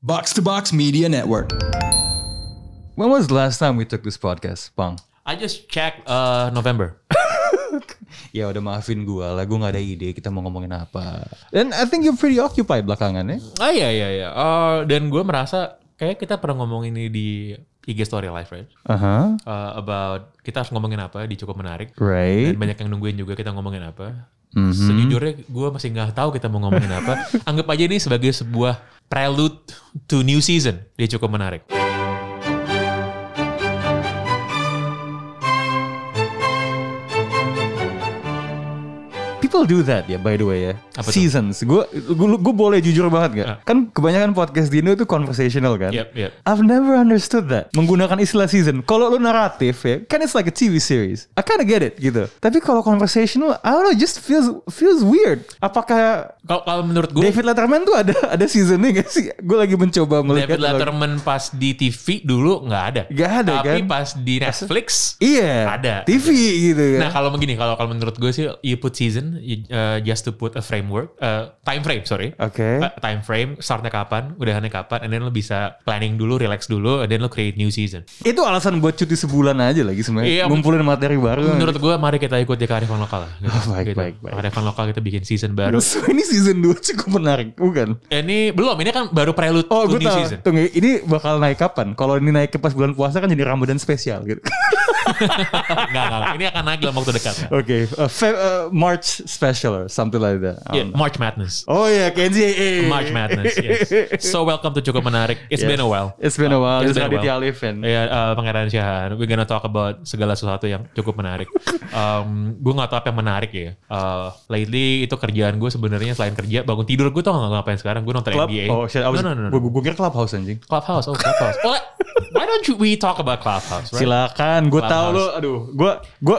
Box to Box Media Network. When was the last time we took this podcast, Pang? I just checked uh, November. Ya udah maafin gua lah, gua nggak ada ide kita mau ngomongin apa. Dan I think you're pretty occupied belakangan ya. Ah iya iya iya. Eh, dan gue merasa kayak kita pernah ngomongin ini di IG Story Live, right? Aha, Eh, about kita harus ngomongin apa di cukup menarik. right. Mm-hmm. Dan banyak yang nungguin juga kita ngomongin apa. Sejujurnya gue masih nggak tahu kita mau ngomongin apa. Anggap aja ini sebagai sebuah prelude to new season. Dia cukup menarik. People do that ya, by the way ya. Apa tuh? Seasons. Gua, gua, gua boleh jujur banget gak? Ah. Kan kebanyakan podcast di Indo itu conversational kan. Yep, yep. I've never understood that. Menggunakan istilah season. Kalau lu naratif ya, kan it's like a TV series. I kinda get it gitu. Tapi kalau conversational, I don't know, just feels feels weird. Apakah Kalau kalau menurut gue David Letterman tuh ada ada seasonnya gak sih? Gue lagi mencoba melihat. David Letterman pas di TV dulu nggak ada. Nggak ada, Tapi kan? pas di Netflix Iya. Ada. TV gitu kan. Nah kalau begini, kalau kalau menurut gue sih, you put season you, uh, just to put a framework, uh, time frame sorry, Oke. Uh, time frame, startnya kapan, udahannya kapan, and then lo bisa planning dulu, relax dulu, and then lo create new season. Itu alasan buat cuti sebulan aja lagi sebenarnya. Iya, Ngumpulin materi baru. Menurut gue, mari kita ikuti kearifan lokal. lah, Gitu, Hmm. Oh, baik, Gitu. baik, baik. Kearifan lokal kita bikin season baru. So, ini season 2 cukup menarik, bukan? Ini belum, ini kan baru prelude Oh, to gue new tahu. season. Tunggu, ini bakal naik kapan? Kalau ini naik ke pas bulan puasa kan jadi Ramadan spesial gitu. Enggak, enggak, enggak. Ini akan naik dalam waktu dekat. Oke, uh, Fe- uh, March special or something like that. I Yeah, don't know. March Madness. Oh yeah, Kenji. eh. March Madness, yes. So welcome to Cukup Menarik. It's been a while. It's been a while. It's This is been a Aditya while. Alif and Ya, eh, Pangeran Syahan. We're gonna talk about segala sesuatu yang cukup menarik. Um, gue nggak tahu apa yang menarik ya. Eh, lately itu kerjaan gue sebenarnya selain kerja bangun tidur gue tau nggak ngapain sekarang. Gue nonton Club. NBA. Oh shit, I was, no, no, no, no. Gue, gue kira Clubhouse anjing. Clubhouse. Oh Clubhouse. Oh, why don't you, we talk about Clubhouse? Right? Silakan, gue tahu Clubhouse. lo. Aduh, gue, gue,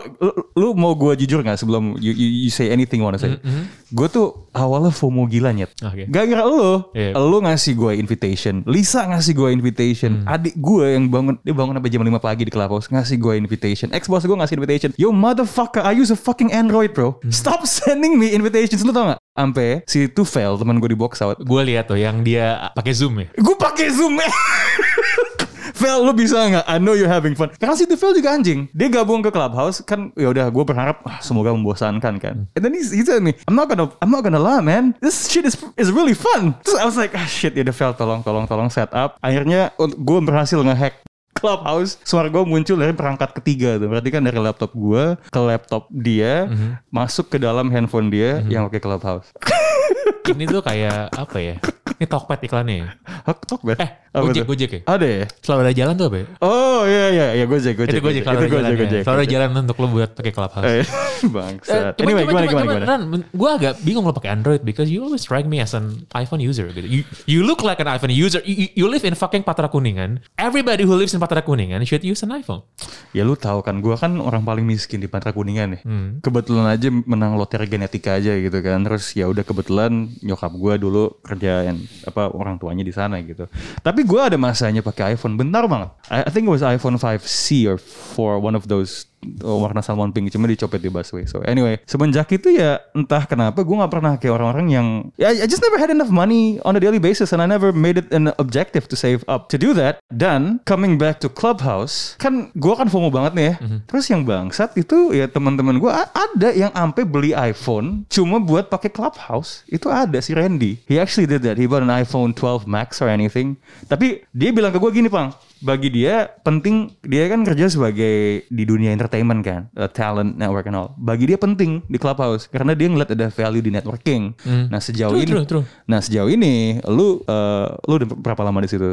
lu mau gue jujur nggak sebelum you, you, you say anything you wanna say? Mm-hmm. Gue tuh awalnya FOMO gila nyet. Oke. Gara-gara lo, Iya. lo ngasih gue invitation, Lisa ngasih gue invitation, Mm. adik gue yang bangun, dia bangun sampai jam 5 pagi di clubhouse ngasih gue invitation, ex boss gue ngasih invitation, yo motherfucker, I use a fucking Android bro, Mm. stop sending me invitations, lu tau gak? Ampe si Tufel teman gue di box out, Gue lihat tuh yang dia pakai Zoom ya. Gue pakai Zoom. Fel, lu bisa nggak? I know you're having fun. Karena situ Fel juga anjing. Dia gabung ke Clubhouse kan. Ya udah, gue berharap ah, semoga membosankan kan. And then he, he said me, I'm not gonna, I'm not gonna lie, man. This shit is is really fun. Terus I was like, ah shit, ya udah Fel, tolong, tolong, tolong set up. Akhirnya gue berhasil ngehack Clubhouse suara gue muncul dari perangkat ketiga tuh berarti kan dari laptop gue ke laptop dia masuk ke dalam handphone dia yang pakai Clubhouse Ini tuh kayak apa ya? Ini Tokped iklannya. ya? Hak, tok, bet. Eh, Apa Gojek, tuh? Gojek ya? ada ya Selalu ada jalan tuh apa ya? Oh iya iya iya Gojek Gojek. Itu Gojek, Iya. Itu selalu ada jalan. Gojek ya. Gojek. Selalu ada jalan untuk lo buat pakai Clubhouse. Eh, Eh, Bangsat. cuman, anyway, cuman, gimana gimana cuman, gimana? gue agak bingung lo pakai Android because you always strike me as an iPhone user. Gitu. You, you look like an iPhone user. You, you- you live in fucking Patra Kuningan. Everybody who lives in Patra Kuningan should use an iPhone. Ya lu tahu kan, gua kan orang paling miskin di Pantra Kuningan ya. Hmm. Kebetulan aja menang lotre genetika aja gitu kan. Terus ya udah kebetulan nyokap gua dulu kerjaan apa orang tuanya di sana gitu. Tapi gua ada masanya pakai iPhone bentar banget. I, I think it was iPhone 5C or for one of those oh, warna salmon pink cuma dicopet di busway. So anyway, semenjak itu ya entah kenapa gua nggak pernah kayak orang-orang yang ya I just never had enough money on a daily basis and I never made it an objective to save up to do that. Dan coming back to Clubhouse, kan gua kan FOMO banget nih ya. Terus yang bangsat itu ya teman-teman gua a- ada yang ampe beli iPhone cuma buat pakai Clubhouse. Itu ada si Randy. He actually did that. He bought an iPhone 12 Max or anything. Tapi dia bilang ke gua gini, Pang, bagi dia penting dia kan kerja sebagai di dunia entertainment kan uh, talent network and all bagi dia penting di clubhouse karena dia ngeliat ada value di networking nah sejauh Hmm. True, ini true, true. nah sejauh ini lu uh, lu udah berapa lama di situ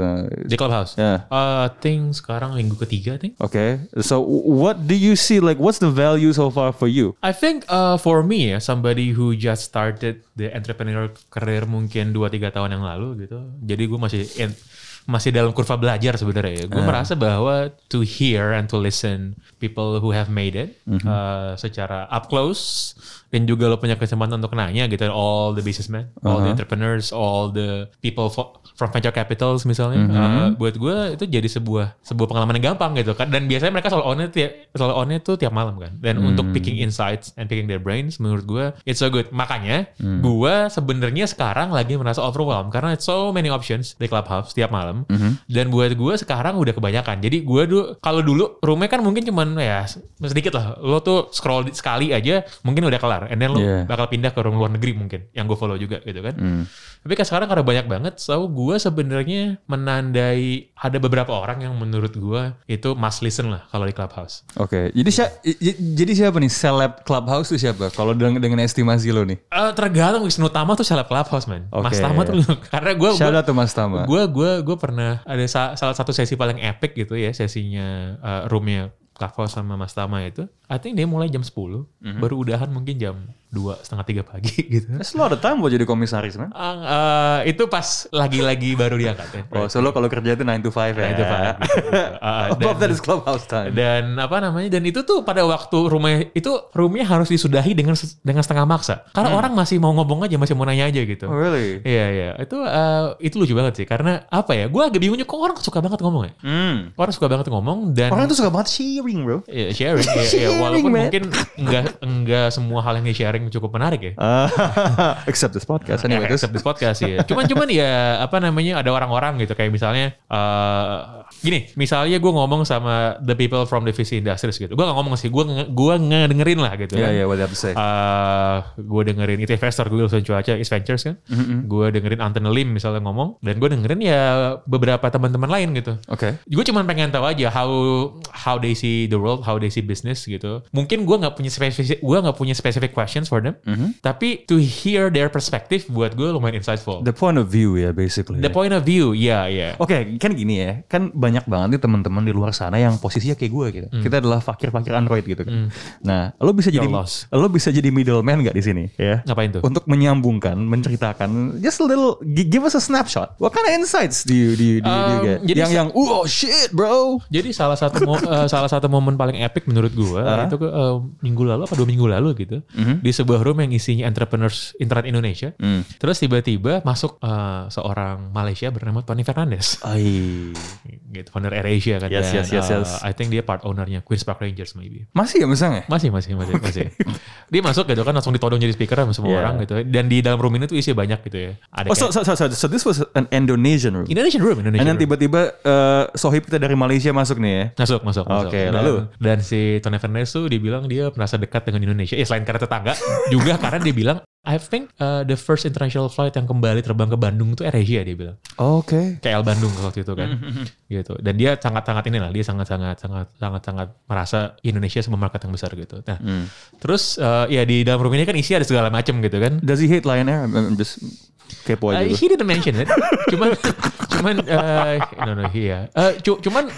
Di Clubhouse. Yeah. Uh, think sekarang minggu ketiga, I think. Oke, so what do you see? Like, what's the value so far for you? I think uh, for me ya, somebody who just started the entrepreneur career mungkin 2-3 tahun yang lalu gitu. Jadi gue masih in- masih dalam kurva belajar sebenarnya ya. Gue merasa bahwa to hear and to listen people who have made it uh, secara up close dan juga lo punya kesempatan untuk nanya gitu all the businessmen, all the entrepreneurs, all the people fo- from venture capitals misalnya. Uh, buat gue itu jadi sebuah sebuah pengalaman yang gampang gitu kan. Dan biasanya mereka selalu onnya tiap selalu onnya tuh tiap malam kan. Dan untuk picking insights and picking their brains menurut gue it's so good. Makanya gue sebenarnya sekarang lagi merasa overwhelmed karena it's so many options di clubhouse tiap malam. Dan buat gue sekarang udah kebanyakan. Jadi gue dulu kalau dulu roomnya kan mungkin cuman ya sedikit lah. Lo tuh scroll di- sekali aja mungkin udah kelar. And then lo Yeah. bakal pindah ke room luar negeri mungkin yang gue follow juga gitu kan. Tapi kan sekarang karena banyak banget, so gue sebenarnya menandai ada beberapa orang yang menurut gue itu must listen lah kalau di clubhouse. Oke, jadi siapa jadi siapa nih seleb clubhouse itu siapa? Kalau dengan, dengan estimasi lo nih. Eh tergantung Wisnu Tama tuh seleb clubhouse man. Oke. Mas Tama tuh karena gue Shout out to Mas Tama. gue gue gue pernah ada sa- salah satu sesi paling epic gitu ya sesinya eh, roomnya Clubhouse sama Mas Tama itu. I think dia mulai jam 10, baru udahan mungkin jam dua setengah tiga pagi gitu. That's a lot of time buat jadi komisaris man. Ah, eh, itu pas lagi-lagi baru diangkat ya. Oh, so lo kalau kerja itu 9 to 5 ya. 9 to 5, gitu. Ah, Above dan- that is clubhouse time. Dan apa namanya? Dan itu tuh pada waktu rumah itu roomnya harus disudahi dengan se- dengan setengah maksa. Karena orang masih mau ngomong aja, masih mau nanya aja gitu. Oh, really? Iya iya itu eh, itu lucu banget sih karena apa ya gue agak bingungnya kok orang suka banget ngomong ya Hmm. orang suka banget ngomong dan Orang tuh suka banget sharing bro. Iya, sharing ya, Sharing, walaupun man. mungkin enggak enggak semua hal yang di sharing cukup menarik ya Ah, except this podcast anyway. Ya, except this podcast ya. Cuman cuman ya apa namanya ada orang-orang gitu kayak misalnya eh, gini, misalnya gue ngomong sama the people from the VC industries gitu. Gue gak ngomong sih, gue nge- gua ngedengerin lah gitu. Ya kan. ya, what they have to say. Eh, gue dengerin itu investor gue Wilson Cuaca Is Ventures kan gue dengerin Anton Lim misalnya ngomong dan gue dengerin ya beberapa teman-teman lain gitu Oke. gue cuman pengen tahu aja how how they see the world how they see business gitu mungkin gue nggak punya spesifik gue nggak punya specific questions for them tapi to hear their perspective buat gue lumayan insightful the, The point of view ya basically. oh. point of view ya ya Oke, kan gini ya, kan banyak banget nih teman-teman di luar sana yang posisinya kayak gue gitu. Hmm. Kita adalah fakir-fakir android gitu kan. Nah, lo bisa jadi lost. lo bisa jadi middleman nggak di sini ya? Ngapain tuh? Untuk menyambungkan, menceritakan, just a little, gi- give us a snapshot. What kind of insights do you do you, do you- do you Um, get? jadi yang se- yang oh shit bro. Jadi salah satu mo- eh, salah satu momen paling epic menurut gua itu ke eh, minggu lalu apa dua minggu lalu gitu Mhm. di sebuah room yang isinya entrepreneurs internet Indonesia. Hmm. Terus tiba-tiba masuk eh, seorang Malaysia bernama Tony Fernandes, Ai. gitu founder AirAsia kan. Yes, yes, yes, eh, yes. I think dia part ownernya Queen's Park Rangers maybe. Masih ya misalnya? Masih, masih, masih, masih. Dia masuk gitu kan langsung ditodong jadi speaker sama semua Yeah. orang gitu. Dan di dalam room ini tuh isinya banyak gitu ya. Ada Iya. Oh, so, kayak- so, so, so, so this was an Indonesian room. Indonesian room, Indonesian And then room. tiba-tiba eh, sohib kita dari Malaysia masuk nih ya. Masuk, masuk, masuk. Oke, Dan- lalu? Dan si Tony Fernandes tuh dibilang dia merasa dekat dengan Indonesia. Ya selain karena tetangga, juga karena dia bilang, I think uh, the first international flight yang kembali terbang ke Bandung tuh AirAsia dia bilang. Oke. KL Bandung waktu itu kan. gitu. Dan dia sangat-sangat ini lah, dia sangat-sangat sangat sangat-sangat merasa Indonesia sebagai market yang besar gitu. Nah, Hmm. terus uh, ya di dalam room ini kan isi ada segala macam gitu kan. Does he hate Lion Air? I'm, I'm just kepo aja. Uh, gue. he didn't mention it. cuman, cuman, uh, no no he ya. Uh, cu- cuman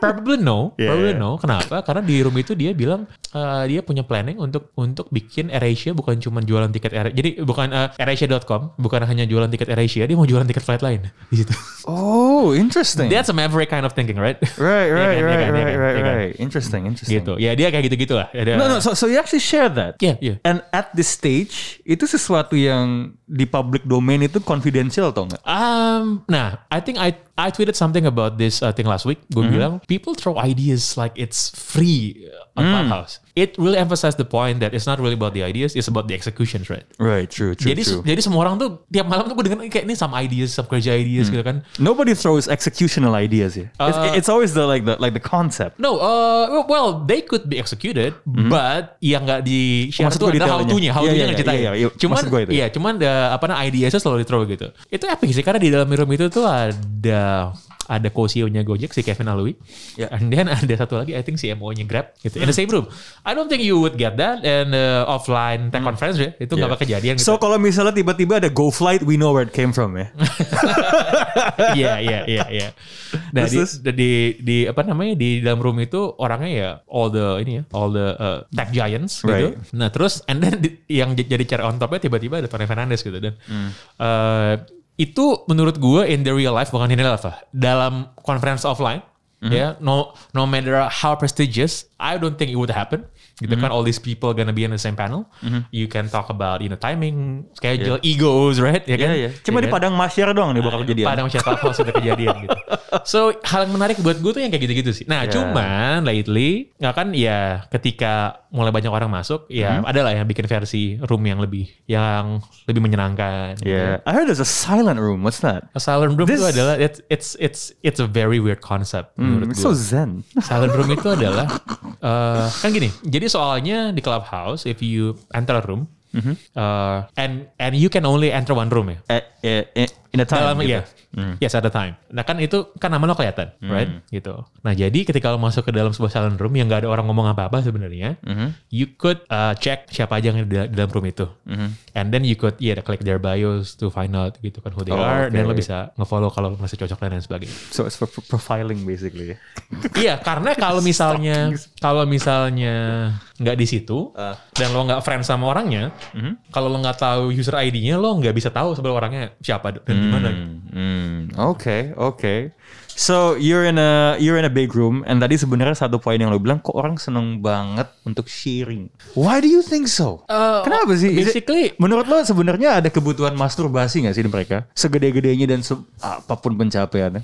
probably no, Yeah, probably yeah. no. Kenapa? Karena di room itu dia bilang uh, dia punya planning untuk untuk bikin AirAsia bukan cuman jualan tiket Air, jadi bukan uh, AirAsia.com, bukan hanya jualan tiket AirAsia, dia mau jualan tiket flight lain di situ. Oh, interesting. That's a maverick kind of thinking, right? right, right, Iya kan, iya right, kan, iya right, kan, right, iya kan. right. Interesting, interesting. gitu. Ya dia kayak gitu gitulah. Ada, No, no. So, so you actually share that. Yeah, yeah. And at this stage, itu sesuatu yang di public domain itu confidential atau enggak? Um, nah, I think I I tweeted something about this uh, thing last week. Gue bilang Mm-hmm. people throw ideas like it's free uh, Mm. on Clubhouse. It really emphasized the point that it's not really about the ideas, it's about the executions, right? Right, true, true, jadi jadi semua orang tuh tiap malam tuh gue dengar kayak ini some ideas, some crazy Mm. ideas gitu kan. Nobody throws executional ideas here. Uh, it's, it's always the like the like the concept. No, uh, well they could be executed, but yang nggak di Mhm. share maksud itu gue adalah how detailnya. to-nya, how Iya, to-nya iya, yang iya, ceritain. iya, iya. Cuman, Maksud gue itu, iya, cuman uh, apa namanya ideasnya selalu di throw gitu. Itu epic sih karena di dalam room itu tuh ada ada co-CEO-nya Gojek si Kevin Alwi. Iya. And then ada satu lagi I think CMO-nya Grab gitu. In the same room. I don't think you would get that and uh, offline tech conference ya. Itu Hmm. nggak Yeah. bakal kejadian gitu. So kalau misalnya tiba-tiba ada go flight, we know where it came from ya. Iya iya iya iya. Nah di, Terus, di di apa namanya di dalam room itu orangnya ya all the ini ya all the uh, tech giants gitu. Right. Nah terus and then di- yang j- jadi cara on topnya tiba-tiba ada Tony Fernandes gitu dan Hmm. eh, itu menurut gue in the real life bukan in the real life lah. dalam Hmm. conference offline ya no no matter how prestigious I don't think it would happen gitu Hmm. kan all these people gonna be in the same panel you can talk about you know timing schedule egos right ya Iya, iya. Cuma di Ya kan? Padang Masyar doang nih bakal kejadian. Padang Masyarakat Clubhouse sudah kejadian gitu. So hal yang menarik buat gue tuh yang kayak gitu-gitu sih. Nah Ya. cuman lately nggak kan ya ketika mulai banyak orang masuk ya Hmm. ada lah yang bikin versi room yang lebih yang lebih menyenangkan. Yeah. I heard there's a silent room. What's that? A silent room Ya. itu This- adalah it's it's it's it's a very weird concept menurut Hmm, it's gue. so zen. Silent room itu adalah eh, kan gini. Jadi soalnya di clubhouse if you enter a room Mm-hmm. eh, and and you can only enter one room ya. Eh, eh, eh, in a time. Dalam gitu. iya. Yes, at the time. Nah kan itu kan nama lo kelihatan, Hmm. right? Gitu. Nah jadi ketika lo masuk ke dalam sebuah silent room yang nggak ada orang ngomong apa-apa sebenarnya, Hmm. you could uh, check siapa aja yang ada di dalam room itu. Hmm. And then you could yeah click their bios to find out gitu kan who they Oh, are. Dan okay. lo bisa ngefollow kalau lo masih cocok dan lain sebagainya. So it's for for profiling basically. Iya, karena kalau misalnya kalau misalnya nggak di situ Ah. Hmm. dan lo nggak friend sama orangnya, kalau lo nggak tahu user ID-nya lo nggak bisa tahu sebenarnya orangnya siapa dan gimana. Hmm, okay, okay. So you're in a you're in a big room, and tadi sebenarnya satu poin yang lo bilang kok orang seneng banget untuk sharing. Why do you think so? Eh, Kenapa sih? Is it- Basically menurut lo sebenarnya ada kebutuhan masturbasi nggak sih di mereka? Segede-gedenya dan se- apapun pencapaiannya.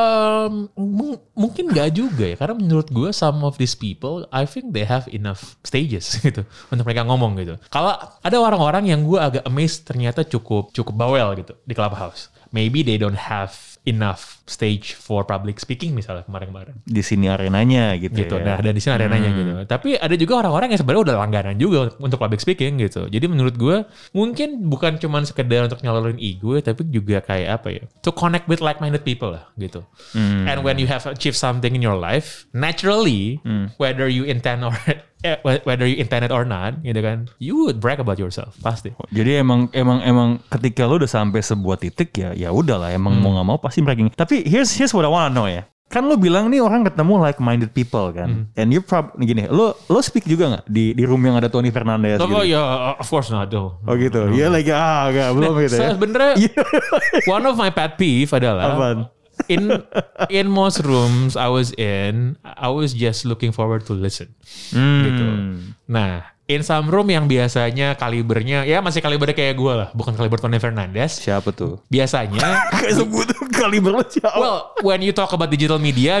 Um, mung- mungkin nggak juga ya, karena menurut gue some of these people, I think they have enough stages gitu untuk mereka ngomong gitu. Kalau ada orang-orang yang gue agak amazed ternyata cukup cukup bawel gitu di clubhouse. Maybe they don't have enough stage for public speaking misalnya kemarin-kemarin Di sini arenanya gitu. gitu. ya. Nah, dan di sini arenanya gitu. Tapi ada juga orang-orang yang sebenarnya udah langganan juga untuk public speaking gitu. Jadi menurut gue mungkin bukan cuman sekedar untuk nyalurin ego tapi juga kayak apa ya? To connect with like-minded people lah gitu. And when you have achieved something in your life, naturally whether you intend or eh, whether you intended or not, gitu kan, you would brag about yourself pasti. Jadi emang emang emang ketika lo udah sampai sebuah titik ya ya udahlah emang mau nggak mau pasti bragging. Tapi here's here's what I wanna know ya. Kan lo bilang nih orang ketemu like minded people kan. And you prob gini, lo lo speak juga nggak di di room yang ada Tony Fernandez Oh, gitu. ya, of course not though. Oh gitu. Ya lagi ah gak, belum gitu ya. Sebenarnya Iya. one of my pet peeve adalah Apaan? in in most rooms I was in, I was just looking forward to listen. Hmm. Gitu. Nah, in some room yang biasanya kalibernya ya masih kaliber kayak gue lah, bukan kaliber Tony Fernandez. Siapa tuh? Biasanya, Kayak sebut kaliber lo siapa? well, when you talk about digital media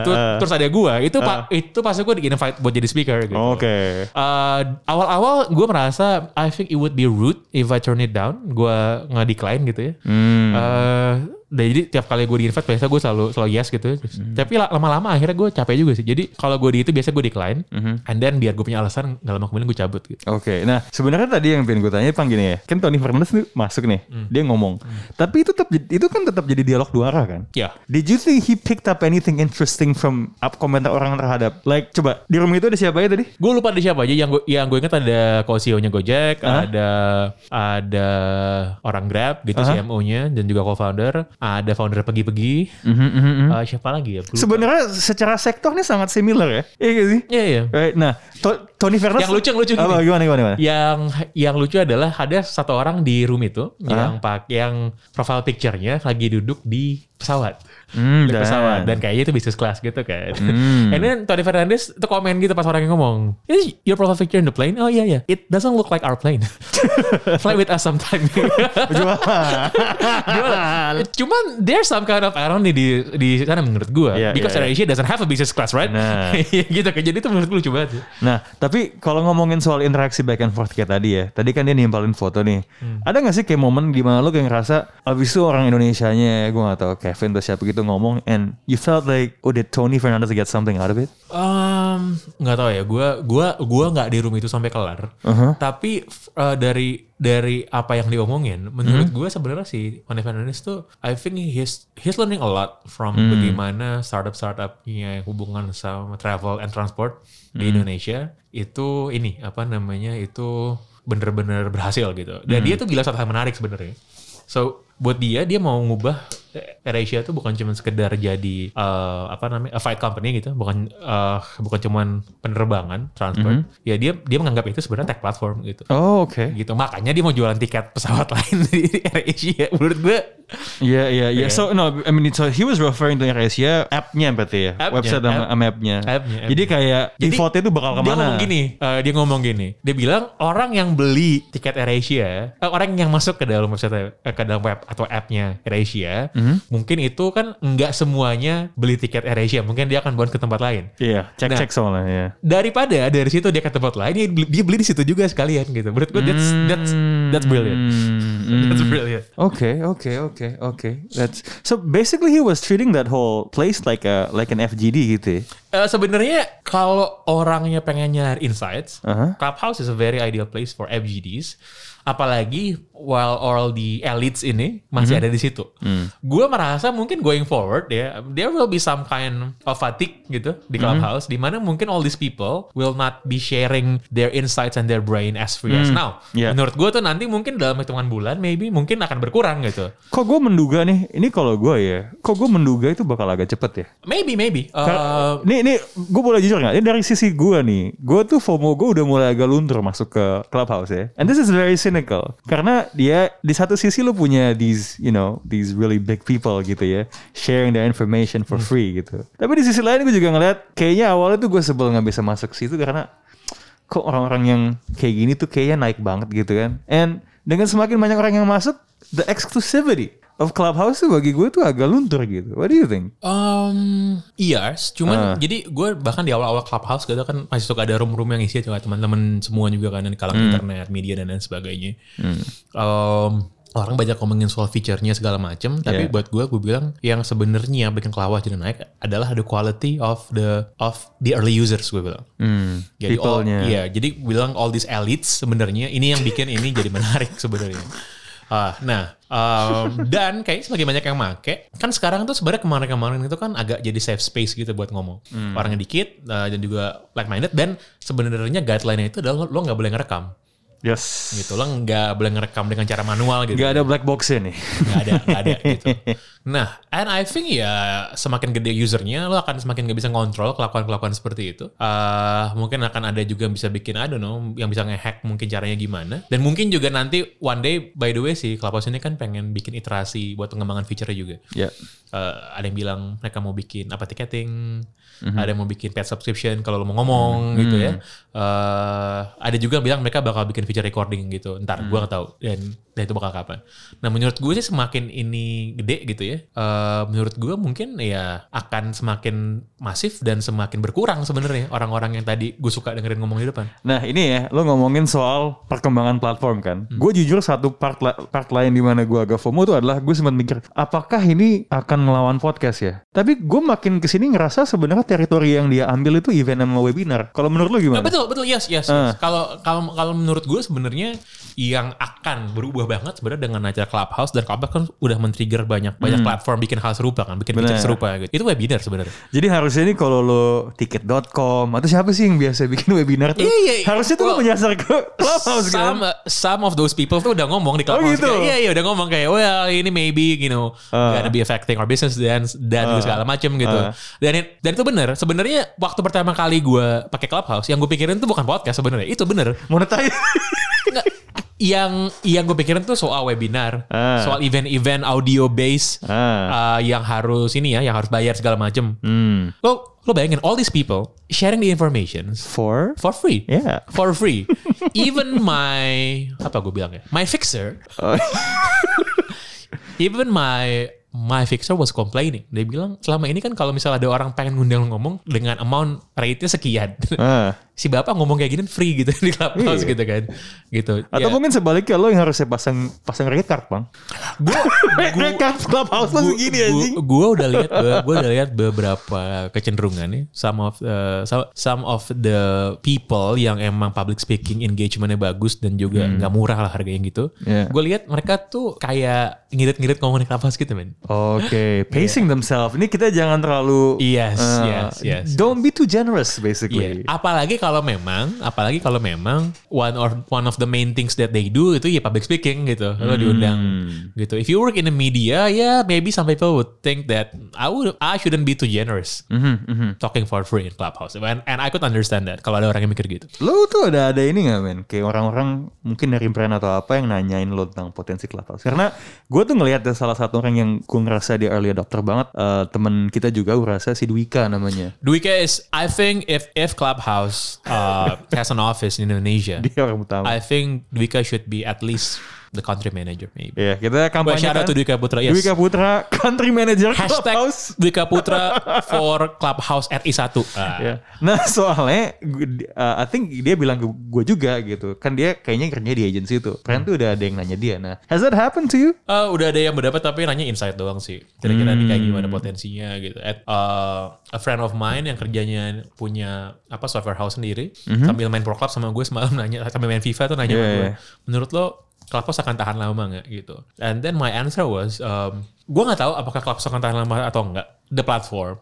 Eh, itu eh. terus ada gue, itu pa- itu pasti gue di invite buat jadi speaker. Gitu. Oke. Eh, awal-awal gue merasa I think it would be rude if I turn it down. Gue nggak decline gitu ya. Eh, dan jadi tiap kali gue di invite biasa gue selalu selalu yes gitu. Tapi la- lama-lama akhirnya gue capek juga sih. Jadi kalau gue di itu biasa gue decline. And then biar gue punya alasan nggak lama kemudian gue cabut gitu. Oke, nah sebenarnya tadi yang pengen gue tanya pang gini ya, kan Tony Fernandes tuh masuk nih, Hmm. dia ngomong, tapi itu tetap itu kan tetap jadi dialog dua arah kan? Ya. Did you think he picked up anything interesting from up komentar orang terhadap? Like coba di room itu ada siapa ya tadi? Gue lupa di siapa aja yang gue yang gue ingat ada co-CEO-nya Gojek, Hah? ada ada orang Grab gitu Aha. CMO-nya dan juga co-founder, ada founder pergi-pergi. Hmm. Eh, siapa lagi ya? Gue lupa. Sebenarnya secara sektor nih sangat similar ya, iya gak sih? Iya iya. Right, nah To- Tony Fernandes Yang lucu- yang lucu Iya. gini. Apa, gimana gimana gimana? yang yang lucu adalah ada satu orang di room itu yang pak yang profile picture-nya lagi duduk di pesawat. Hmm, Di dan- pesawat dan kayaknya itu bisnis class gitu kan. Hmm. And then Tony Fernandez itu komen gitu pas orang yang ngomong, "Is your profile picture in the plane?" Oh iya iya. It doesn't look like our plane. Fly with us sometime. Gimana? Cuman there's some kind of irony di di sana menurut gua Iya, because iya, iya. AirAsia doesn't have a business class, right? Nah. gitu kan. Jadi itu menurut gua lucu banget. sih. Nah, tapi kalau ngomongin soal interaksi back and forth kayak tadi ya, tadi kan dia nimpalin foto nih. Hmm. Ada nggak sih kayak momen di mana lo kayak ngerasa abis itu orang Indonesianya, gue gak tau Kevin atau siapa gitu ngomong, and you felt like, oh did Tony Fernandez get something out of it? Um, nggak tahu ya. Gua gua gua nggak di room itu sampai kelar. Tapi f- eh, dari dari apa yang diomongin, menurut gua sebenarnya si Tony Fernandez tuh, I think he's he's learning a lot from bagaimana startup startupnya hubungan sama travel and transport di Indonesia itu ini apa namanya itu bener-bener berhasil gitu. Dan dia tuh gila satu hal menarik sebenarnya. So buat dia dia mau ngubah AirAsia itu bukan cuma sekedar jadi eh, apa namanya a flight company gitu, bukan eh, bukan cuma penerbangan transport. Mm-hmm. Ya dia dia menganggap itu sebenarnya tech platform gitu. Oh oke. Gitu. Makanya dia mau jualan tiket pesawat lain di AirAsia. Menurut gue Iya iya iya. So no, I mean so he was referring to AirAsia app-nya berarti ya. App-nya, Website sama app. sama app-nya. App-nya, Jadi kayak Jadi, defaultnya tuh bakal Dia kemana? ngomong gini, eh, dia ngomong gini. Dia bilang orang yang beli tiket AirAsia, eh, orang yang masuk ke dalam website eh, ke dalam web atau app-nya AirAsia, Mm-hmm. mungkin itu kan nggak semuanya beli tiket AirAsia, mungkin dia akan buat ke tempat lain. Iya, cek Nah. cek soalnya ya. Daripada dari situ dia ke tempat lain, dia beli, dia beli di situ juga sekalian gitu. Menurut gue that's that's that's brilliant. That's brilliant. Okay, okay, okay, okay. That's so basically he was treating that whole place like a like an FGD gitu. Ya. Eh, Sebenarnya kalau orangnya pengen nyari insights, Uh-huh. Clubhouse is a very ideal place for FGDs. Apalagi while all the elites ini Mm-hmm. masih ada di situ. Mm. Gue merasa mungkin going forward ya, there will be some kind of fatigue gitu Mm-hmm. di Clubhouse. di mana mungkin all these people will not be sharing their insights and their brain as free as now. Mm. Yeah. Menurut gue tuh nanti mungkin dalam hitungan bulan maybe mungkin akan berkurang gitu. Kok gue menduga nih, ini kalau gue ya, kok gue menduga itu bakal agak cepet ya. Maybe, maybe. Eh, Kar- Nih, nih, gue boleh jujur nggak? Ini dari sisi gue nih, gue tuh FOMO gue udah mulai agak luntur masuk ke clubhouse ya. And this is very cynical, karena dia di satu sisi lu punya these, you know, these really big people gitu ya, sharing their information for free gitu. Tapi di sisi lain gue juga ngeliat, kayaknya awalnya tuh gue sebel nggak bisa masuk situ karena kok orang-orang yang kayak gini tuh kayaknya naik banget gitu kan. And dengan semakin banyak orang yang masuk, the exclusivity of clubhouse tuh bagi gue tuh agak luntur gitu. What do you think? Um, iya, cuman jadi gue bahkan di awal-awal clubhouse gitu kan masih suka ada room-room yang isi juga teman-teman semua juga kan di kalangan internet, media dan lain sebagainya. Um, orang banyak ngomongin soal fiturnya segala macem, tapi Yeah. buat gue gue bilang yang sebenarnya bikin kelawah jadi naik adalah the quality of the of the early users gue bilang. Hmm, Jadi all- people-nya. iya, jadi bilang all these elites sebenarnya ini yang bikin ini jadi menarik sebenarnya. Ah, nah, um, dan kayaknya sebagai banyak yang make, kan sekarang tuh sebenarnya kemarin-kemarin itu kan agak jadi safe space gitu buat ngomong. Orangnya dikit eh, dan juga like minded dan sebenarnya guideline-nya itu adalah lo- lo nggak boleh ngerekam Yes. gitu. Lo nggak boleh ngerekam dengan cara manual gitu. Gak ada black boxnya nih. nggak ada nggak ada gitu nah and I think ya semakin gede usernya lo akan semakin nggak bisa ngontrol kelakuan kelakuan seperti itu Eh, mungkin akan ada juga yang bisa bikin I don't know yang bisa ngehack mungkin caranya gimana dan mungkin juga nanti one day by the way sih Clubhouse ini kan pengen bikin iterasi buat pengembangan feature juga Ya. Eh, ada yang bilang mereka mau bikin apa ticketing, ada yang mau bikin paid subscription kalau lo mau ngomong gitu ya. Eh, ada juga yang bilang mereka bakal bikin feature recording gitu. Ntar gua nggak tahu dan, dan itu bakal kapan. Nah menurut gue sih semakin ini gede gitu ya. eh, menurut gue mungkin ya akan semakin masif dan semakin berkurang sebenarnya orang-orang yang tadi gue suka dengerin ngomong di depan. Nah ini ya, lo ngomongin soal perkembangan platform kan. Gue jujur satu part la- part lain di mana gue agak FOMO itu adalah gue sempat mikir, apakah ini akan melawan podcast ya? Tapi gue makin kesini ngerasa sebenarnya teritori yang dia ambil itu event sama webinar. Kalau menurut lo Nah, gimana? betul betul yes yes. Ah. yes. Kalau kalau kalau menurut gue sebenarnya yang akan berubah banget sebenarnya dengan acara Clubhouse dan Clubhouse kan udah men-trigger banyak banyak Hmm. platform bikin hal serupa kan, bikin Bener. feature serupa gitu. Itu webinar sebenarnya. Jadi harusnya ini kalau lo tiket.com atau siapa sih yang biasa bikin webinar tuh? Iya, iya, iya. Harusnya tuh lo Well, menyasar ke Clubhouse kan? Some, some of those people tuh udah ngomong di Clubhouse. gitu? Ah. Kayak, Iya, iya udah ngomong kayak, well ini maybe, you know, gonna be affecting our business dan dan segala macem gitu. Dan dan itu bener. Sebenarnya waktu pertama kali gue pakai Clubhouse, yang gue pikirin tuh bukan podcast sebenarnya. Itu bener. Monetize. Nggak, yang yang gue pikirin tuh soal webinar, Ah. soal event-event audio base Ah. eh, yang harus ini ya, yang harus bayar segala macem. hmm. Lo lo bayangin all these people sharing the information For? for free, Yeah. for free. even my apa gue bilang ya, my fixer, Oh. even my my fixer was complaining. Dia bilang selama ini kan kalau misalnya ada orang pengen ngundang lo ngomong dengan amount rate-nya sekian. Ah. si bapak ngomong kayak gini free gitu di clubhouse Iya. gitu kan gitu Atau Ya. mungkin sebaliknya lo yang harusnya pasang pasang red card bang. Gua- gua- red card clubhouse lo segini anjing. Gue udah lihat, gue udah lihat beberapa kecenderungan nih. Some of uh, some- some of the people yang emang public speaking engagementnya bagus Hmm. dan juga nggak murah lah harganya gitu. Yeah. Gue lihat mereka tuh kayak ngirit-ngirit ngomongin nafas gitu men. Oke, pacing themselves. Ini kita jangan terlalu Yes, eh, yes, yes, Don't be too generous basically. Iya. Apalagi kalau memang, apalagi kalau memang one or one of the main things that they do itu ya public speaking gitu. Lo diundang gitu. If you work in the media, ya maybe some people would think that I would I shouldn't be too generous Mm-hmm, talking for free in clubhouse. And, and I could understand that kalau ada orang yang mikir gitu. Lo tuh ada ada ini gak men? Kayak orang-orang mungkin dari brand atau apa yang nanyain lo tentang potensi clubhouse. Karena gue tuh ngelihat ada salah satu orang yang gue ngerasa dia early adopter banget. eh, temen kita juga gue rasa si Dwika namanya. Dwika is I think if if clubhouse uh, has an office in Indonesia, Dia orang pertama. I think Dwika should be at least the country manager maybe. Iya, kita kampanye Well, shout out to Dwika Putra, yes. Dwika Putra, country manager Hashtag clubhouse. Dwika Putra for Clubhouse RI1. Ah. Ya. Nah soalnya, gu- di- uh, I think dia bilang ke gue juga gitu. Kan dia kayaknya kerja di agency itu. Friend tuh udah ada yang nanya dia. Nah, has that happened to you? Eh, udah ada yang mendapat tapi nanya insight doang sih. Kira-kira ini kayak Hmm. gimana potensinya gitu. At, eh, a friend of mine yang kerjanya punya apa software house sendiri sambil main pro club sama gue semalam nanya sambil main FIFA tuh nanya sama Mhm. Yeah, gue. yeah. Menurut lo Clubhouse akan tahan lama nggak gitu? And then my answer was, um, gue nggak tahu apakah Clubhouse akan tahan lama atau enggak the platform,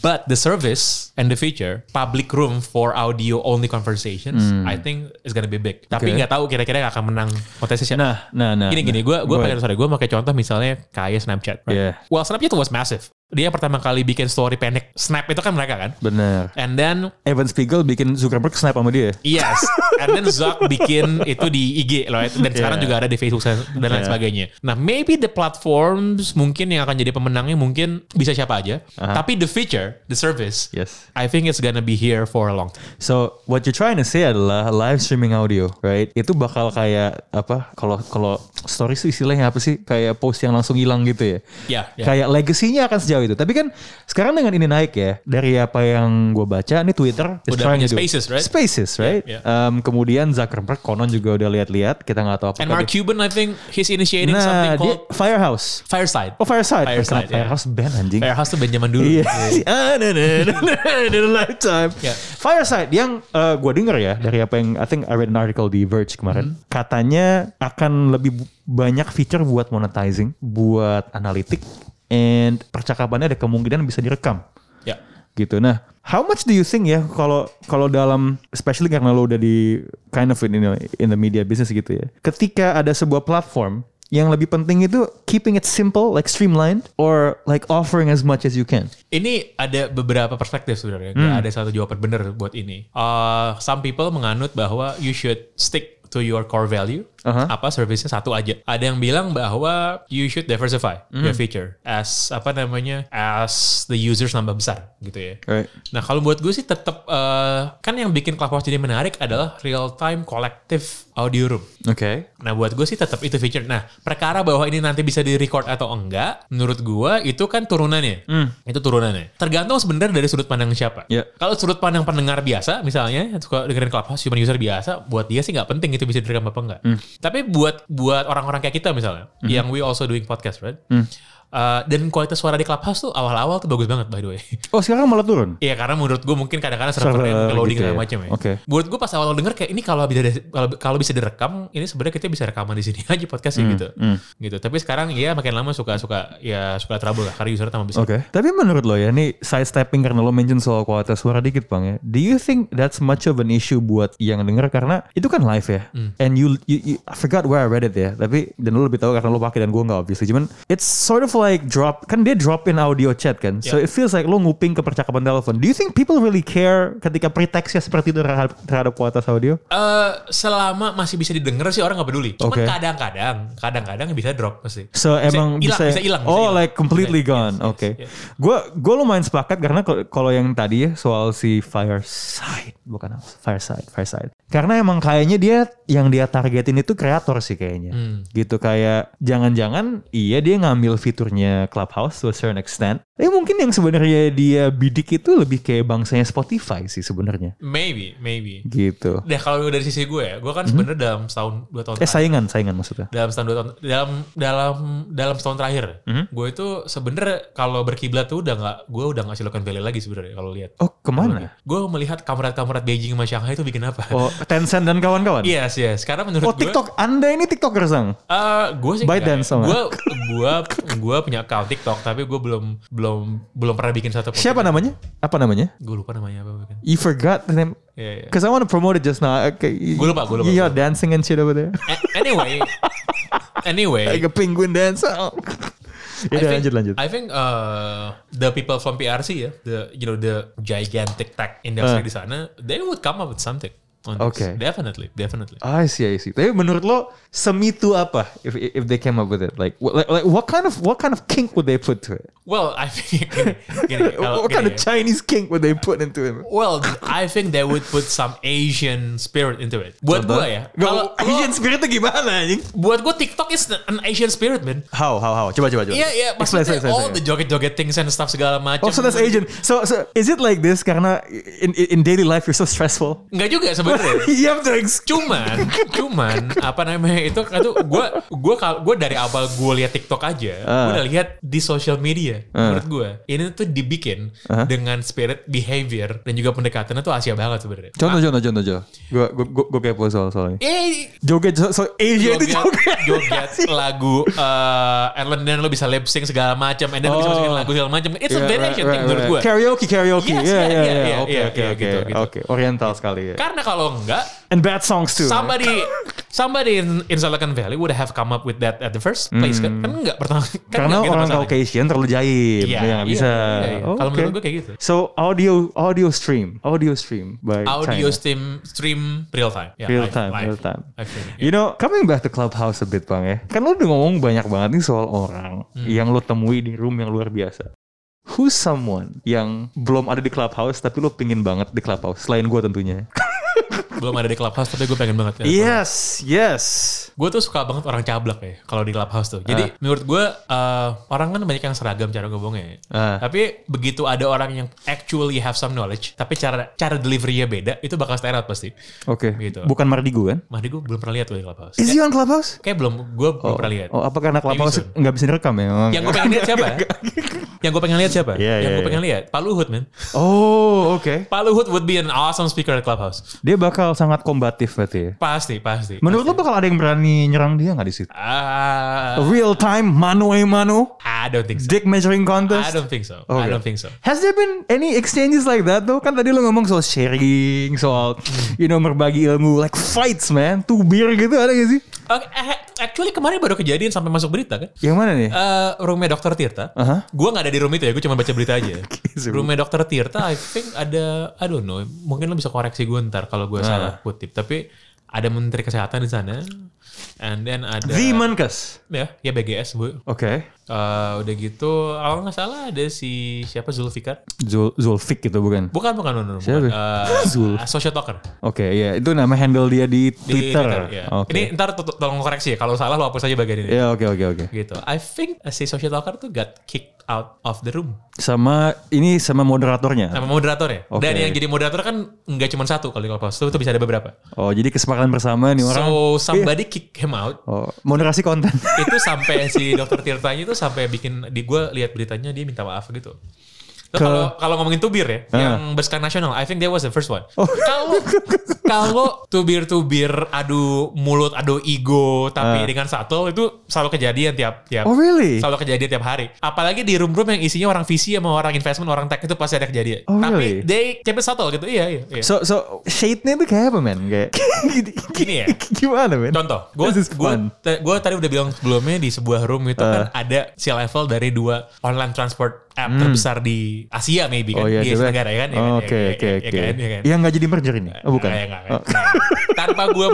but the service and the feature, public room for audio only conversations, I think is gonna be big. Tapi Hmm. Okay. nggak tahu kira-kira yang akan menang potensi siapa. Nah, nah, nah. Gini nah. gini, gue Go gue pakai ahead. sorry gue pakai contoh misalnya kayak Snapchat. Yeah. Well Snapchat was massive. Dia pertama kali bikin story pendek. Snap itu kan mereka kan. Bener. And then Evan Spiegel bikin Zuckerberg snap sama dia. yes, and then Zuck bikin itu di IG loh. Dan sekarang Yeah. juga ada di Facebook dan lain Yeah. sebagainya. Nah maybe the platforms mungkin yang akan jadi pemenangnya mungkin bisa siapa aja. Uh-huh. Tapi the feature, the service, Yes. I think it's gonna be here for a long time. So what you're trying to say adalah live streaming audio, right? Itu bakal kayak apa? Kalau kalau stories itu istilahnya apa sih? Kayak post yang langsung hilang gitu ya? Ya, ya. Kayak legasinya akan sejauh itu. Tapi kan sekarang dengan ini naik ya dari apa yang gue baca, ini Twitter is Udah trying punya to do- Spaces, right? Ya, Spaces, right? Yeah, Um, kemudian Zuckerberg konon juga udah lihat-lihat. Kita nggak tahu apa. And Mark Cuban, I think he's initiating something nah, dia called Firehouse. Fireside. Oh Fireside, Kenapa Fireside, ya. yeah. Firehouse band anjing. Firehouse tuh Benjamin dulu. Iya. Ah, nah, nah, nah, nah, in a lifetime. Ya. Fireside yang eh, gua denger ya dari apa yang I think I read an article di Verge kemarin, katanya akan lebih bu- banyak feature buat monetizing, buat analitik, and percakapannya ada kemungkinan bisa direkam Ya. gitu. Nah, how much do you think ya kalau kalau dalam especially karena lo udah di kind of in, in the media business gitu ya. Ketika ada sebuah platform yang lebih penting itu keeping it simple like streamlined or like offering as much as you can. Ini ada beberapa perspektif sebenarnya. Nggak ada satu jawaban benar buat ini. Uh, some people menganut bahwa you should stick to your core value. Aha. Apa servicenya satu aja. Ada yang bilang bahwa you should diversify your feature as apa namanya as the users nambah besar gitu ya. Right. Nah kalau buat gue sih tetap uh, kan yang bikin Clubhouse jadi menarik adalah real time collective audio room. Okay. Nah buat gue sih tetap itu feature. Nah perkara bahwa ini nanti bisa di record atau enggak, menurut gue itu kan turunannya. Itu turunannya. Tergantung sebenarnya dari sudut pandang siapa. Ya. Kalau sudut pandang pendengar biasa misalnya, yang suka dengerin clubhouse, human user biasa, buat dia sih nggak penting itu bisa direkam apa enggak. Tapi buat buat orang-orang kayak kita misalnya, yang we also doing podcast, right? Eh, dan kualitas suara di clubhouse tuh awal-awal tuh bagus banget by the way. Oh sekarang malah turun. Iya karena menurut gue mungkin kadang-kadang servernya Server loading gitu segala ya. macam ya. Oke. Menurut gue pas awal denger kayak ini kalau bisa kalau, kalau bisa direkam ini sebenarnya kita bisa rekaman di sini aja podcastnya Hmm, gitu. Gitu. Tapi sekarang ya makin lama suka-suka ya suka trouble lah karena usernya tambah besar. Oke. Tapi menurut lo ya, ini side stepping karena lo mention soal kualitas suara dikit bang ya. Do you think that's much of an issue buat yang denger karena itu kan live ya. Hmm. And you, you, you- I forgot where I read it ya. Tapi dan lo lebih tahu karena lo pakai dan gue nggak obviously. Cuman it's sort of like drop kan dia drop in audio chat kan. So Yeah. it feels like lo nguping ke percakapan telepon. Do you think people really care ketika preteksnya seperti itu terhadap, terhadap kualitas audio? Eh, selama masih bisa didengar sih orang nggak peduli. Cuman Oke. kadang-kadang, kadang-kadang bisa drop pasti. So emang hilang, bisa, bisa hilang. bisa Oh hilang. like completely Bisa gone. hilang. Yes, Oke. yes, yes. Gue gue lumayan sepakat karena kalau- kalau yang tadi ya soal si Fireside bukan House, Fireside, Fireside. Karena emang kayaknya dia yang dia targetin itu kreator sih kayaknya. Hmm. Gitu kayak jangan-jangan iya dia ngambil fiturnya Clubhouse to a certain extent. Tapi mungkin yang sebenarnya dia bidik itu lebih kayak bangsanya Spotify sih sebenarnya. Maybe, maybe. Gitu. Nah kalau dari sisi gue ya, gue kan Hmm? sebenarnya dalam setahun dua tahun Eh saingan, saingan maksudnya. dalam setahun dua tahun dalam dalam dalam setahun terakhir Mhm. gue itu sebenernya kalau berkiblat tuh udah nggak gue udah nggak Silicon Valley lagi sebenarnya kalau lihat Oh kemana? gue melihat kamurat-kamurat Beijing sama Shanghai itu bikin apa Oh Tencent dan kawan-kawan. Iya sih, sekarang menurut Oh gue TikTok, anda ini Tiktoker sang? Eh, gue sih Bytedance sama. gue gue gue gue punya account TikTok tapi gue belum belum belum pernah bikin satu. Siapa namanya? Apa namanya? Gue lupa namanya apa bukan. You forgot the name. Iya, iya. Because I want to promote it just now. Okay. you- Gua lupa, gua lupa, You're gua dancing and shit over there. A- Anyway, anyway, like a penguin dancer. I Yaudah think- lanjut lanjut. I think uh, the people from PRC ya, the you know the gigantic tech Uh. industry di sana, they would come up with something. on Okay. this. definitely, definitely. Ah, I see, I see. Tapi menurut lo semi itu apa? If if they came up with it, like, what- like, like what kind of what kind of kink would they put to it? Well, I think gini, gini, kalau what kind gini of ya. Chinese kink would they put into it? Well, I think they would put some Asian spirit into it. Buat gue ya. Kalau Gak, Asian lo- spiritnya gimana anjing? buat gue TikTok is an Asian spirit, man. How how how? Coba coba coba. Iya, iya. Explain, Maksudnya explain, all explain. the joget-joget things and stuff segala macam. Oh, so that's Asian. So, so is it like this? Karena in in, in daily life you're so stressful. Enggak juga sebenarnya. you have to ex- cuman cuman apa namanya itu itu gue gue kalau gue dari awal gue lihat TikTok aja gue udah lihat di social media menurut gue ini tuh dibikin dengan spirit behavior dan juga pendekatannya tuh Asia banget sebenarnya Contoh, contoh, contoh, contoh. Gue gue gue, gue kepo soal soalnya. eh joget. So, so Asia Iya, itu joget, joget. joget lagu uh, Erlen dan lo bisa lip sync segala macam and then lo bisa Oh. Iya, masukin lagu segala macam it's a Yeah, very right, Asian right, thing menurut right. gue Karaoke, karaoke. Yes, yeah, yeah, yeah, yeah. yeah, yeah, Oke, yeah, oke, yeah, oke, gitu, gitu. oke. Oriental sekali ya. karena kalau enggak And bad songs too. right? somebody somebody in, in Silicon Valley would have come up with that at the first place kan kan enggak pertama kan Karena enggak gitu orang masalahnya. Caucasian terlalu jaim, Iya, ya nggak iya, bisa. iya, iya. Kalau Oke. menurut gue kayak gitu. So audio audio stream, audio stream by audio China. stream stream real time Ya, Real live- time, live. real time. Live streaming, ya. You know, coming back to Clubhouse a bit bang ya. Kan lu udah ngomong banyak banget nih soal orang yang lu temui di room yang luar biasa. Who's someone yang belum ada di Clubhouse tapi lu pingin banget di Clubhouse selain gua tentunya? belum ada di clubhouse tapi gue pengen banget ya. Iya. Yes, yes. gue tuh suka banget orang cablak ya kalau di clubhouse tuh Ah. jadi menurut gue eh, orang kan banyak yang seragam cara ngomongnya ya. Ah. tapi begitu ada orang yang actually have some knowledge tapi cara cara deliverynya beda itu bakal stand out pasti Oke. Gitu. Bukan Mardigo kan? Mahdi gue belum pernah lihat tuh di clubhouse Is he on Clubhouse? kayak belum gue belum pernah lihat Oh, apa karena Maybe Clubhouse soon. nggak bisa direkam ya? Emang? yang gue pengen lihat siapa yang gue pengen lihat siapa Iya, yang iya, gue pengen lihat Pak Luhut man Oh, oke. Pak Luhut would be an awesome speaker at clubhouse Dia bakal sangat kombatif berarti ya. Pasti, pasti. Menurut lo bakal ada yang berani nyerang dia nggak di situ? Ah, Real time, mano a mano, I don't think so. dick measuring I contest. don't think so. I Okay. don't think so. Has there been any exchanges like that though? Kan tadi lo ngomong soal sharing, soal you know berbagi ilmu, like fights man, tubir gitu ada gak sih? Oke, eh, actually kemarin baru kejadian sampai masuk berita kan? Yang mana nih? Eh, roomnya Dokter Tirta. Aha. Gue nggak ada di room itu ya. Gue cuma baca berita aja. seru. roomnya Dokter Tirta, I think ada, I don't know. Mungkin lo bisa koreksi gue ntar kalau gue salah kutip. Tapi ada Menteri Kesehatan di sana. And then ada The Menkes. ya, ya BGS bu. Oke. Eh, udah gitu, kalau nggak salah ada si siapa Zulfikar? Zul Zulfik gitu bukan? Bukan bukan, bukan, bukan. Siapa? Eh, Zul. social talker. Oke, iya itu nama handle dia di di Twitter. ya. Oke. Ini ntar to- to- tolong koreksi ya. Kalau salah lo hapus aja bagian ini. Ya oke oke oke. Gitu. I think si social talker tuh got kicked out of the room Sama ini sama moderatornya. sama moderator ya. Oke. Dan yang jadi moderator kan nggak cuma satu kalau di clubhouse tuh, tuh bisa ada beberapa. Oh, jadi kesepakatan bersama nih orang. Iya. So Iya. somebody kick him out. Oh, moderasi konten. itu sampai si dokter Tirtanya itu sampai bikin di gue lihat beritanya dia minta maaf gitu. Terus Ke- Kalau kalau ngomongin tubir ya, Ah. Oh. yang berskala nasional, I think that was the first one. Kalau kalau tubir-tubir adu mulut, adu ego, tapi dengan satu itu selalu kejadian tiap tiap. Ah. Oh, really? Selalu kejadian tiap hari. Apalagi di room-room yang isinya orang visi sama orang investment, orang tech itu pasti ada kejadian. Oh, tapi really? they keep it subtle gitu. Iya, iya. iya. So so shade-nya tuh kayak apa men? Kayak gini- Gini ya. Gimana men? Contoh, gue This is gue fun. Uh. gue tadi udah bilang sebelumnya di sebuah room itu kan ada si level dari dua online transport app terbesar di Asia maybe kan Hmm. Oh iya, di coba. Asia negara ya kan. ya kan, ya Oke oke kan, ya oke. kan, ya kan, ya kan. Yang nggak jadi merger ini? Oh bukan. Ah, ya nggak, Oh, kan. tanpa gue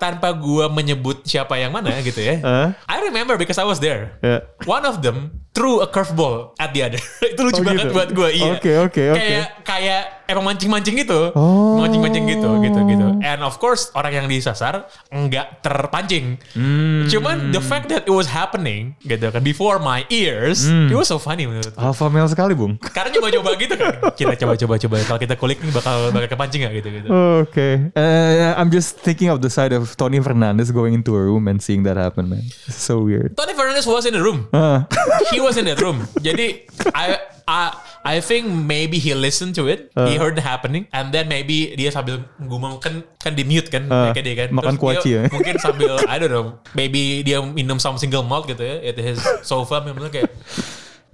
tanpa gua menyebut siapa yang mana gitu ya. Eh? I remember because I was there. Ya. One of them threw a curveball at the other. itu lucu Oh, banget gitu? buat gue. Iya. Oke, oke, oke. Kayak kayak emang mancing-mancing gitu. Oh. Mancing-mancing gitu gitu gitu. And of course orang yang disasar nggak terpancing. Hmm. Cuman the fact that it was happening gitu kan before my ears, Hmm. it was so funny menurut gue. Alpha male sekali bung. Karena coba-coba gitu kan. Kita coba-coba coba kalau kita kulik nih bakal bakal kepancing nggak gitu gitu. Oke. Eh, I'm just thinking of the side of Tony Fernandez going into a room and seeing that happen man. So weird. Tony Fernandez was in the room. Ah. He was in that room. Jadi I I I think maybe he listened to it, he heard it happening, and then maybe dia sambil ngomong kan kan di mute kan, Uh, kayak dia kan. makan Terus kuaci dia ya. Mungkin sambil I don't know, maybe dia minum some single malt gitu ya at his sofa, memang kayak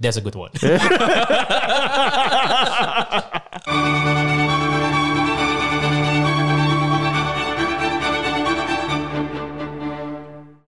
that's a good one.